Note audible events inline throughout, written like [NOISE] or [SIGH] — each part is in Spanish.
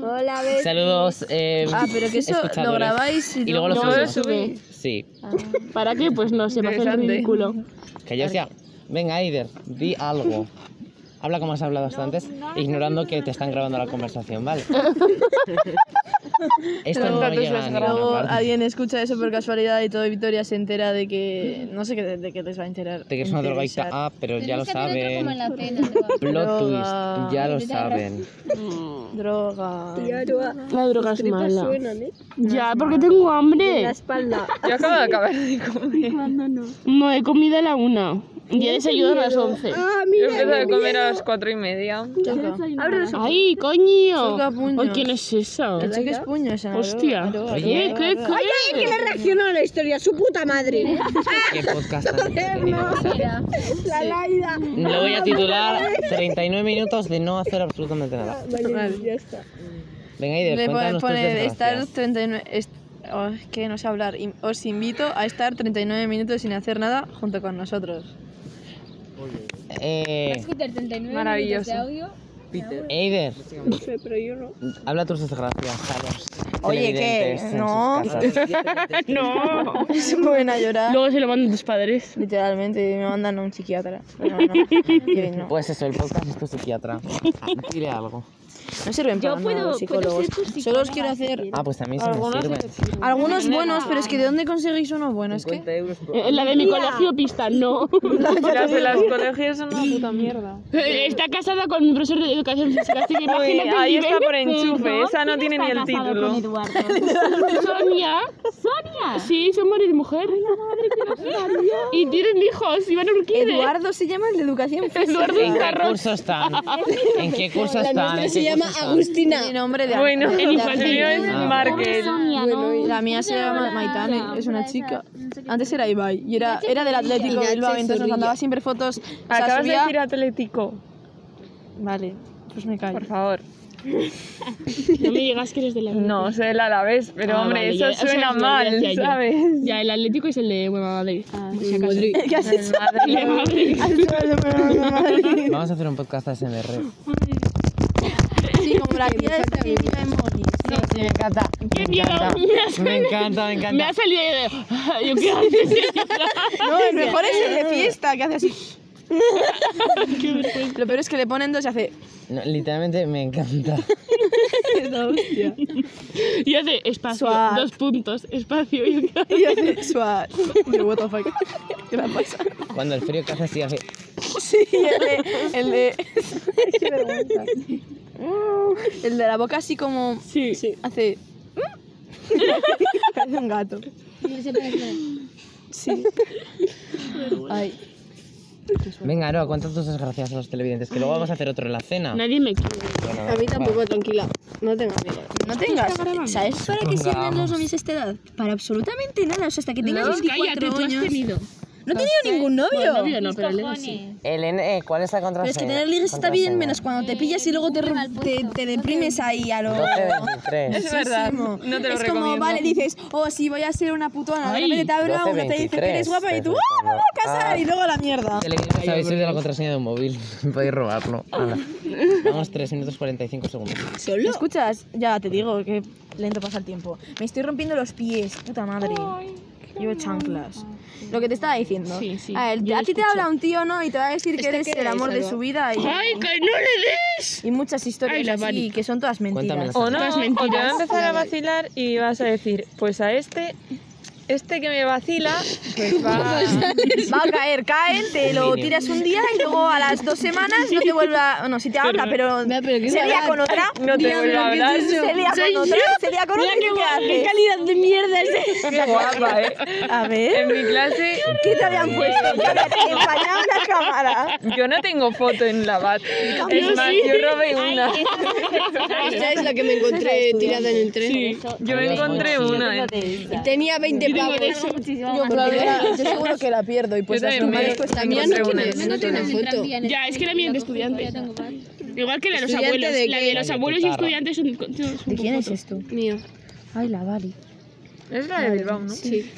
Hola, Betty. Saludos. eh, Ah, pero que eso lo escuchadores. grabáis Y luego lo No subimos. me lo subí. Sí, Ah, ¿Para qué? Pues no sé, me hace el Interesante. ridículo. que yo sea. Venga, Aider, di algo. Habla como has hablado hasta antes, ignorando que te están grabando la conversación, ¿vale? Esto no Tantos llega a las ninguna Luego parte. alguien escucha eso por casualidad y todo Vitoria se entera de que. No sé qué- de, qué les va a enterar. Te que es una drogadicta. interesar. Ah, pero ya lo Tenemos que hacer otro como en saben. la [LAUGHS] cena, te va. Plot Droga. twist, ya lo Vete a la- saben. Ah. Droga. La droga es mala. suenan, ¿eh? Ya, porque tengo hambre. La espalda. Yo acabo de [LAUGHS] acabar de comer. Cuando no. No, he comido a la una. Ya desayuno a las once. Ah, Yo mira. empecé a comer a las cuatro [LAUGHS] y media. Abre los ojos. ¡Ay, coño! Soca puños. Ay, ¿Quién es esa? El chico es puño esa. droga, Hostia. droga, Oye, droga, ¿qué, droga. qué? ¿Qué le reaccionó a la historia? Su puta madre. [LAUGHS] Qué podcast tan entretenido. Mira, La Laida. Lo voy a titular 39 minutos de no hacer absolutamente nada. Vale, ya está. Venga, Aider, Le pone, cuéntanos tus pone estar desgracias. 39. est- oh, es que no sé hablar. Im- Os invito a estar 39 minutos sin hacer nada junto con nosotros. [LAUGHS] Eh, Scooter 39 Maravilloso. minutos de audio. Aider, No sé, pero yo no. habla tus desgracias a los Oye, ¿qué? televidentes en sus No. [LAUGHS] casas. No. Se pueden a llorar. Luego se lo mandan tus padres. Literalmente me mandan a un psiquiatra. Pero [LAUGHS] no, y no. Pues eso, el podcast es tu psiquiatra. Dile algo. No sirven para nada los psicólogos. Solo os quiero hacer Ah, pues también se me sirve. algunos buenos, pero es que ¿de dónde conseguís uno bueno? Es que Eh, La de mi colegio pista, no. Las de las colegios son una puta mierda. Está casada con mi profesor de educación física, así que Uy, imagínate. el ahí nivel está por de enchufe, pedo. esa no tiene ni el título. Sonia. Sonia. Sí, son marido y mujer. [LAUGHS] Y tienen hijos y van a Urquide. Eduardo se llama el de educación física. Eduardo ¿En qué Carro. curso están? ¿En qué curso La están? nuestra ¿En se qué llama curso están? Agustina. mi nombre de Bueno, de- el infantil. mío es Ah, Markel. La mía se llama Maitane, es una chica. Antes era Ibai y era, era del Atlético de Bilbao, entonces nos mandaba siempre fotos. O sea, Acabas de subía- decir Atlético, Vale, pues me callo. por favor. No me digas que eres de la No, sé el Alavés, pero Ah, hombre, vale, ya- eso eso es suena lo que mal, decía yo. ¿sabes? Ya, el Atlético es el de Buena Madrid. [LAUGHS] ¿Qué haces? El de Madrid. Vamos a hacer un podcast ASMR. Sí, como la tía de esta que vivía en Monis. Sí, me encanta. Me miedo, encanta. me has- Me encanta, me Me encanta. ha salido yo de. [LAUGHS] Yo qué haces? No, el mejor es el de fiesta, que hace así. Lo peor es que le ponen dos y hace. No, literalmente me encanta. Y hace espacio, Suave. dos puntos, espacio. Yo qué haces? Y hace. Suave. Y yo, what the fuck. ¿Qué le pasa? Cuando el frío que hace así, hace... Sí, el de. [LAUGHS] El de, el de la boca así como. Sí. Hace. ¿Mm? [LAUGHS] Parece un gato. Sí. Ay. Venga, no, cuántas tus desgracias a los televidentes, que luego vamos a hacer otro en la cena. Nadie me quiere. Bueno, A mí va. tampoco, tranquila. No tengo miedo. No tengas. ¿Sabes para qué sirven los novios a esta edad? Para absolutamente nada. O sea, hasta que tengas Cállate, tú has tenido. No he tenido ningún Bueno, novio. novio no, pero Elena sí. Cojones. Elena, eh, ¿cuál es la Pero contraseña? es que tener ligas está bien, menos cuando te pillas y luego te, mal te, puesto. te deprimes ahí a lo... 1223. Es verdad, no te lo es como, recomiendo. vale, dices, oh, sí, voy a ser una putona. De Ay, repente te abre uno, te dice que eres guapa y tú, oh, me voy a casar. Y luego a la mierda. Televidentes, Sabéis de la contraseña de un móvil, [LAUGHS] podéis robarlo. Ah. Hala. Vamos, 3 minutos 45 segundos. ¿Me escuchas? Ya te digo que lento pasa el tiempo. Me estoy rompiendo los pies, puta madre. Llevo chanclas. Lo que te estaba diciendo. Sí, sí, A, ver, yo a lo ti te escucho. habla un tío, ¿no? Y te va a decir que eres el amor de su vida [LAUGHS] y, ¡Ay, que no le des! y muchas historias Ay, la así Mari. que son todas mentiras. Cuéntamelas. O no, Todas o te va a mentiras. empezar a vacilar y vas a decir, pues a este, este que me vacila, [LAUGHS] pues va... Va a caer, caen, te lo Convenio. tiras un día y luego a las dos semanas no te vuelve a... Bueno, si te habla, pero se lía con otra. No te vuelvo a hablar. Se lía con otra, se lía con otra y ¿qué haces? calidad de mierda es Qué guapa, ¿eh? A [LAUGHS] ver, En mi clase eh, ¿qué te habían puesto? Que había- te empañaba la cámara. yo no tengo foto en la bat. Es más, yo robé una. Esta es la que me encontré tirada en el tren. Yo me encontré una. ¿eh? Tenía 20 pavos. Yo, yo seguro que la pierdo y pues Yo las también me- normales cuestan me mía menos. no encontré una. tiene- Me encontré Una unas en foto. tranvía en el Ya, es que era tren, mía de la cogí, estudiante. ya tengo varias. Igual que la de los ¿Estudiante abuelos. de la qué? de los Ay, abuelos y guitarra. estudiantes son. con- son- son ¿De quién es fotos. esto? Mío. Ay, la Vali. Es la de Bilbao, ¿no? Sí.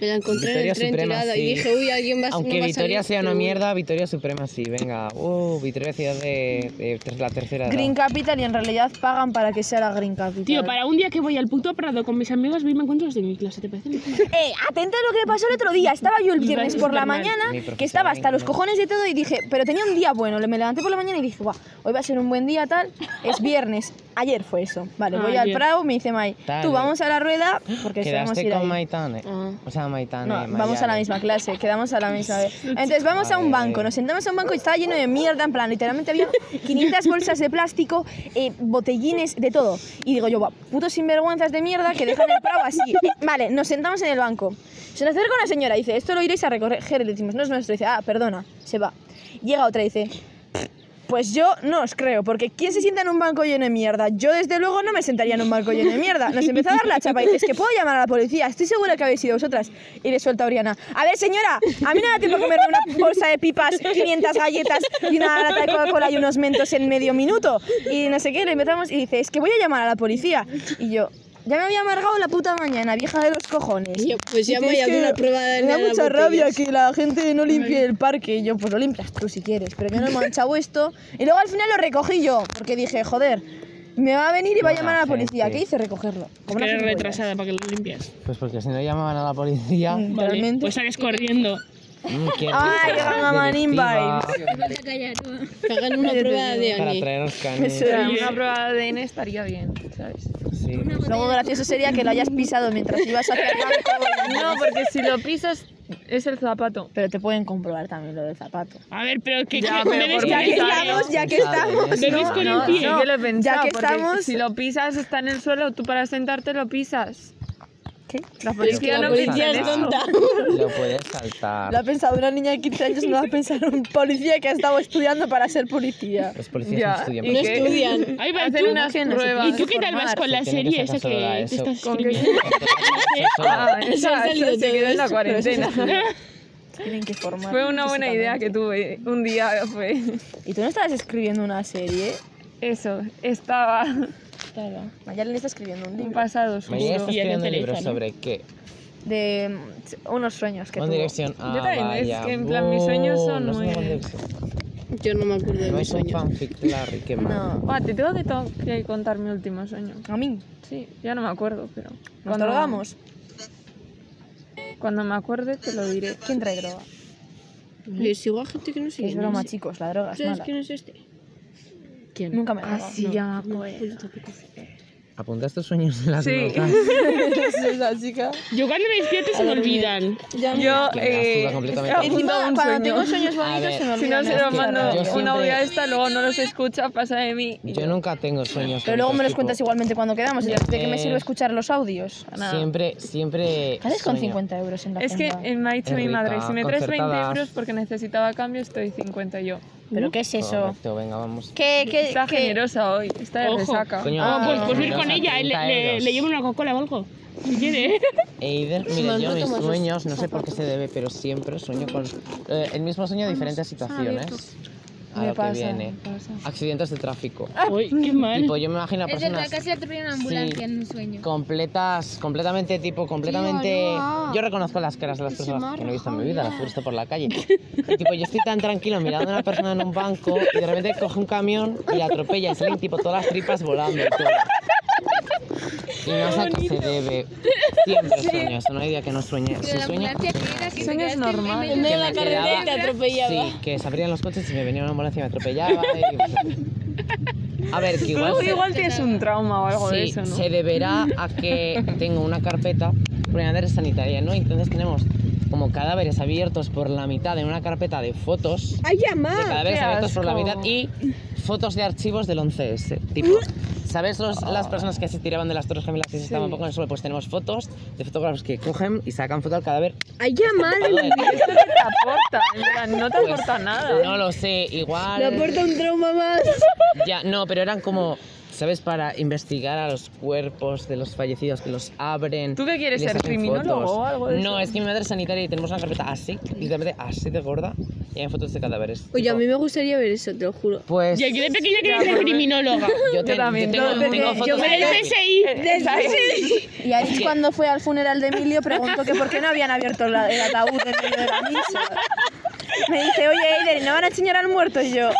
Me la encontré en Victoria el tren Suprema, tirada sí. y dije, uy, alguien va, Aunque no va a Victoria salir sea una seguro". mierda, Victoria Suprema sí, venga. Uh, Victoria Ciudad de, de ter- la tercera edad. Green Capital y en realidad pagan para que sea la Green Capital. Tío, para un día que voy al puto Prado con mis amigos, voy y me encuentro a los de mi clase, ¿te parece? [LAUGHS] Eh, atenta a lo que me pasó el otro día. Estaba yo el viernes por la Superman. mañana, Mi profesora que estaba hasta los inglés. cojones de todo y dije, pero tenía un día bueno. Le- Me levanté por la mañana y dije, guau, hoy va a ser un buen día tal. Es viernes. Ayer fue eso. Vale, voy al Ayer. Prado, me dice Mai, Dale. tú vamos a la rueda porque sabemos Quedaste ir ahí. con Maitane. Ah. O sea, Maitane. No, vamos a la Mayane. misma clase, quedamos a la misma vez. Entonces vamos a un banco, nos sentamos a un banco y estaba lleno de mierda, en plan, literalmente había 500 bolsas de plástico, eh, botellines, de todo. Y digo yo, "Buah, putos sinvergüenzas de mierda que dejan el prado así. Vale, nos sentamos en el banco. Se nos acerca una señora, dice, esto lo iréis a recoger, le decimos, no es nuestro, dice, ah, perdona, se va. Llega otra y dice, pues yo no os creo, porque ¿quién se sienta en un banco lleno de mierda? Yo desde luego no me sentaría en un banco lleno de mierda. Nos empezó a dar la chapa y dice, es que puedo llamar a la policía, estoy segura que habéis sido vosotras. Y le suelta a Oriana, a ver señora, a mí no me da tiempo a comerme una bolsa de pipas, 500 galletas y una lata de Coca-Cola y unos mentos en medio minuto. Y no sé qué, le empezamos y dice, es que voy a llamar a la policía. Y yo... Ya me había amargado la puta mañana, vieja de los cojones. Y yo, pues Dice, llama y "Es hago que una prueba de Me da las mucha rabia botellas". que la gente no limpie el parque. Y yo, pues lo limpias tú si quieres, pero que no he manchado esto. Y luego al final lo recogí yo, porque dije, joder, me va a venir y va a Buena llamar a la policía. gente. ¿Qué hice recogerlo? Es Como que una eres gilipollas. retrasada para que lo limpias. Pues porque si no llamaban a la policía. Mm. Vale, Realmente. Pues sales corriendo. Mm, qué Ay, rica, Ganga Manin directiva, Que hagan una prueba de Para ANI. traeros canes. Eso era. Una prueba de ADN estaría bien, ¿sabes? Sí. Luego gracioso sería que lo hayas pisado mientras ibas hacia el banco. No, porque si lo pisas es el zapato. Pero te pueden comprobar también lo del zapato. A ver, pero que Ya, que- pero debes por Ya que limpiar. pensar, estamos, ya que Pensad, ¿eh? estamos. Debes con el No, pie. yo lo he pensado, Ya que porque estamos- si lo pisas está en el suelo, tú para sentarte lo pisas. ¿Qué? La Es que policía la no policía piensa es en eso. tonta. Lo puedes saltar. Lo ha pensado una niña de 15 años, no lo ha pensado un policía que ha estado estudiando para ser policía. Los policías Ya, no estudian. y No pero- que- estudian. Ahí va Hacen tú. unas ¿Y pruebas tú qué tal vas con la Se tiene serie que sacar esa que solo a te eso. estás ¿Con qué? escribiendo? Ah, Se esa, ha salido esa se todo quedó en la eso, cuarentena. Tienen que formar. Fue una buena idea que tuve un día, fue ¿Y tú no estabas escribiendo una serie? eso, estaba Claro. Mayalen está escribiendo un un libro pasado Mañana oscuro. está Y ya te escribiendo un libro interesa, ¿no? sobre qué. de mm, unos sueños que One tuvo. Direction. Ah, también, es vaya. que en plan mis sueños Oh, son no es de muy- One Direction. Yo no me acuerdo de No mis es un sueños. fanfic, Larry, qué mal. No, Ah, te tengo que, to- que contar mi último sueño. a mí. Sí, ya no me acuerdo, pero. Nos drogamos. Cuando me acuerde te lo diré. ¿Quién trae droga? Yo sigo a gente que no sigue. Es broma, chicos, la droga es ¿Sabes mala. [LAUGHS] quién es este? ¿Quién? Nunca me he drogado. sí, ya me Apunta estos sueños en las Sí. [LAUGHS] notas. esa chica? Yo cuando me despierto se me olvidan. Yo, Que eh, la suda completamente. he apuntado Encima, un cuando sueño. tengo sueños A bonitos ver, se me Si no olvidan. se las lo cosas. mando Yo un siempre- audio a esta, luego no los escucha, pasa de mí. y Yo nunca tengo sueños. Pero luego me los bonitos, cuentas tipo, igualmente cuando quedamos. ¿De qué me Eh, sirve escuchar los audios? Nada. Siempre, siempre. ¿Qué haces con sueño. 50 euros en la Es que agenda? eh, me ha dicho Es mi madre, rica, si me traes 20 concertadas. euros porque necesitaba cambio, estoy 50 yo. ¿Pero qué es eso? Correcto, venga, vamos. ¿Qué, qué, Está qué- generosa hoy, está de Ojo. resaca. Eh, Coño, Ah, vamos, pues, pues ir menos con a ella, le, 30 le, euros. le llevo una Coca-Cola o algo. Si quiere. E Ider, Más mire, yo no mis tomas los sueños, no sé por qué se debe, pero siempre sueño con eh, el mismo sueño, diferentes situaciones. A Me lo pasa, que viene. me pasa. Accidentes de tráfico. Uy, qué mal. Tipo, yo me imagino a Es verdad, personas casi atropellan una ambulancia Sí. en un sueño. completas, completamente, tipo, completamente... no. Yo reconozco las caras de las Que se personas me ha que no he visto en mi rajado vida, ya. las he visto por [LAUGHS] la calle. Y, tipo, yo estoy tan tranquilo mirando a una persona en un banco y de repente coge un camión y la atropella y salen, tipo, todas las tripas volando y todo. Y no sé a qué se debe. Siempre sueño, eso no hay día que no sueñe. Pero Si la sueño, ambulancia que era que se quedaste Sueños en normales. medio En de la la carretera y te carretera. atropellaba. Sí, que se abrían los coches y me venía una ambulancia y me atropellaba. y- A ver, que Tú igual, luego se- igual tienes un trauma o algo de sí, eso, ¿no? se deberá a que tengo una carpeta por de sanitaria, ¿no? Entonces tenemos como cadáveres abiertos por la mitad en una carpeta de fotos. ¡Ay, De mamá! cadáveres Ah, qué abiertos por la asco. mitad y fotos de archivos del 11S. Tipo, ¿sabes los- las personas que se tiraban de las Torres Gemelas y se estaban un poco en el suelo? Pues tenemos fotos de fotógrafos que cogen y sacan foto al cadáver. Este ¡Ay, ya, madre! Joder, [LAUGHS] Esto no te aporta, en plan, no te Pues, aporta nada. No lo sé, igual. Me aporta un trauma más. Ya, no, pero eran como ¿Sabes? Para investigar a los cuerpos de los fallecidos que los abren. ¿Tú qué quieres les ser, hacen criminólogo fotos. o algo de No, eso? es que mi madre es sanitaria y tenemos una carpeta así, literalmente así de gorda, y hay fotos de cadáveres. Oye, a Tipo, mí me gustaría ver eso, te lo juro. Pues. Y aquí de pequeña quería ser criminóloga. Yo, te- yo también, tengo, no, tengo porque yo fotos Con el de- PSI. Eh, Y ahí cuando fue al funeral de Emilio preguntó que por qué no habían abierto la- el ataúd en medio de la misa. Me dice, oye, Eider, ¿no van a enseñar al muerto? Y yo,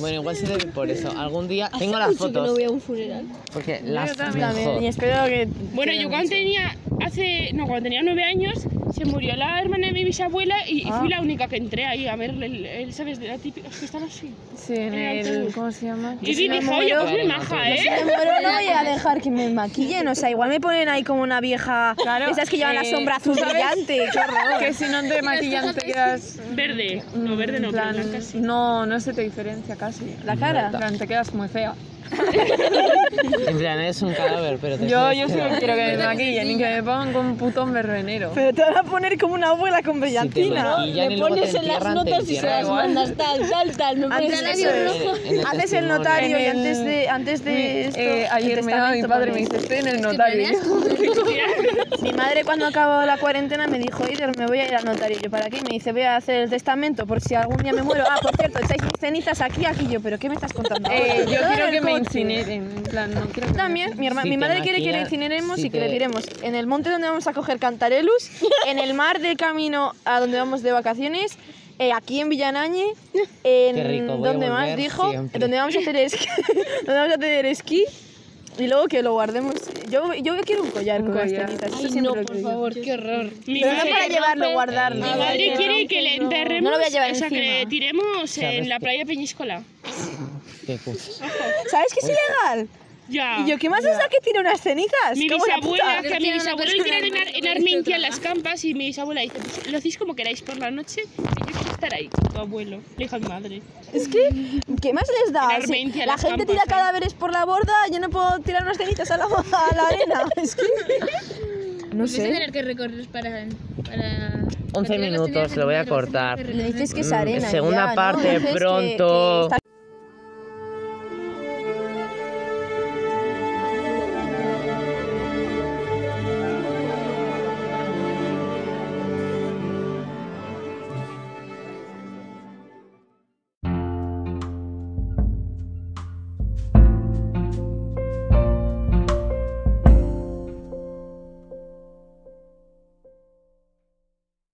Bueno, igual se debe por eso. Algún día tengo las Mucho que no fotos. voy a un funeral. Porque las también, y mejor. espero que... Bueno, yo cuando tenía hace no cuando tenía nueve años se murió la hermana de mi bisabuela y, y Ah. fui la única que entré ahí a ver el, el- sabes de la típica es que están así Sí, En en el el. autobús. ¿Cómo se llama? y vi me mi joyo muero- pues muy maja Si eh me muero no voy a dejar que me maquillen, o sea, igual me ponen ahí como una vieja... Claro, esas que llevan la eh, sombra azul ¿tú sabes? brillante, qué horror. Que si no te maquillan te quedas. verde no Mm, verde no pero en plan, blanca sí No, no se te diferencia casi. La En cara. plan, te quedas muy fea. En plan, es un cadáver, pero te Yo, sabes yo sí quedar. que quiero que me maquillen y que me pongan con un putón verbenero. Pero te van a poner como una abuela con Si te brillantina. maquillan y luego te entierran, te entierran igual. mandas tal, tal, tal. Me Antes pones de- eso. En el Haces el testimonio. notario y En el- antes de, antes de esto, Eh, ayer el me daba mi testamento padre, me pones. dice, estoy en el notario. Mi madre cuando acabó la cuarentena me dijo, Eider, me voy a ir al notario. Yo, ¿para qué? Me dice, voy a hacer el testamento por si algún día me muero. Ah, por cierto, echáis mis cenizas aquí, aquí yo. ¿Pero qué me estás contando? ahora? [LAUGHS] Eh, yo Todo en quiero el que me coche. incineren, en plan, no quiero que me- También, mi, herma- Si mi te madre quiere que le maquillan, incineremos si y que le te- tiremos en el monte donde vamos a coger [LAUGHS] cantarelus, en el mar de camino a donde vamos de vacaciones, eh, aquí en Villanañe, en Qué rico, voy a donde más volver dijo, siempre. donde vamos a [LAUGHS] hacer esquí, [LAUGHS] donde vamos a hacer esquí y luego que lo guardemos. Yo, yo quiero un collar Un con collar. las tenitas. Ay, no, por favor, qué horror. mi Pero no madre, para llevarlo, guardarlo. mi madre quiere que le enterremos No lo voy a llevar o sea que encima. le tiremos Sabes en la que- playa Peñíscola Qué cosas. ¿Sabes que es ilegal? ya Y yo, ¿qué más es la que tiene unas cenizas? mi Como la puta. bisabuela, que a mi Pero bisabuelo le tiene una tiran en, Ar- en persona Armentia en las campas y mi bisabuela dice, "Pues lo hacéis como queráis por la noche y yo quiero estar ahí con tu abuelo. Le dijo a mi madre. Es que, ¿qué más les da? En Si Armentia, la las gente campas, tira ¿eh? cadáveres por la borda, yo no puedo tirar unas cenitas a la, a la arena. [LAUGHS] Es que. No Vais a sé. tener que recorrer para. para 11 para ir a las minutos, tiendas de lo voy a dinero, vas tener cortar. que Le dices que es Mm, arena. segunda ya, ¿no? parte Dices que- pronto. que está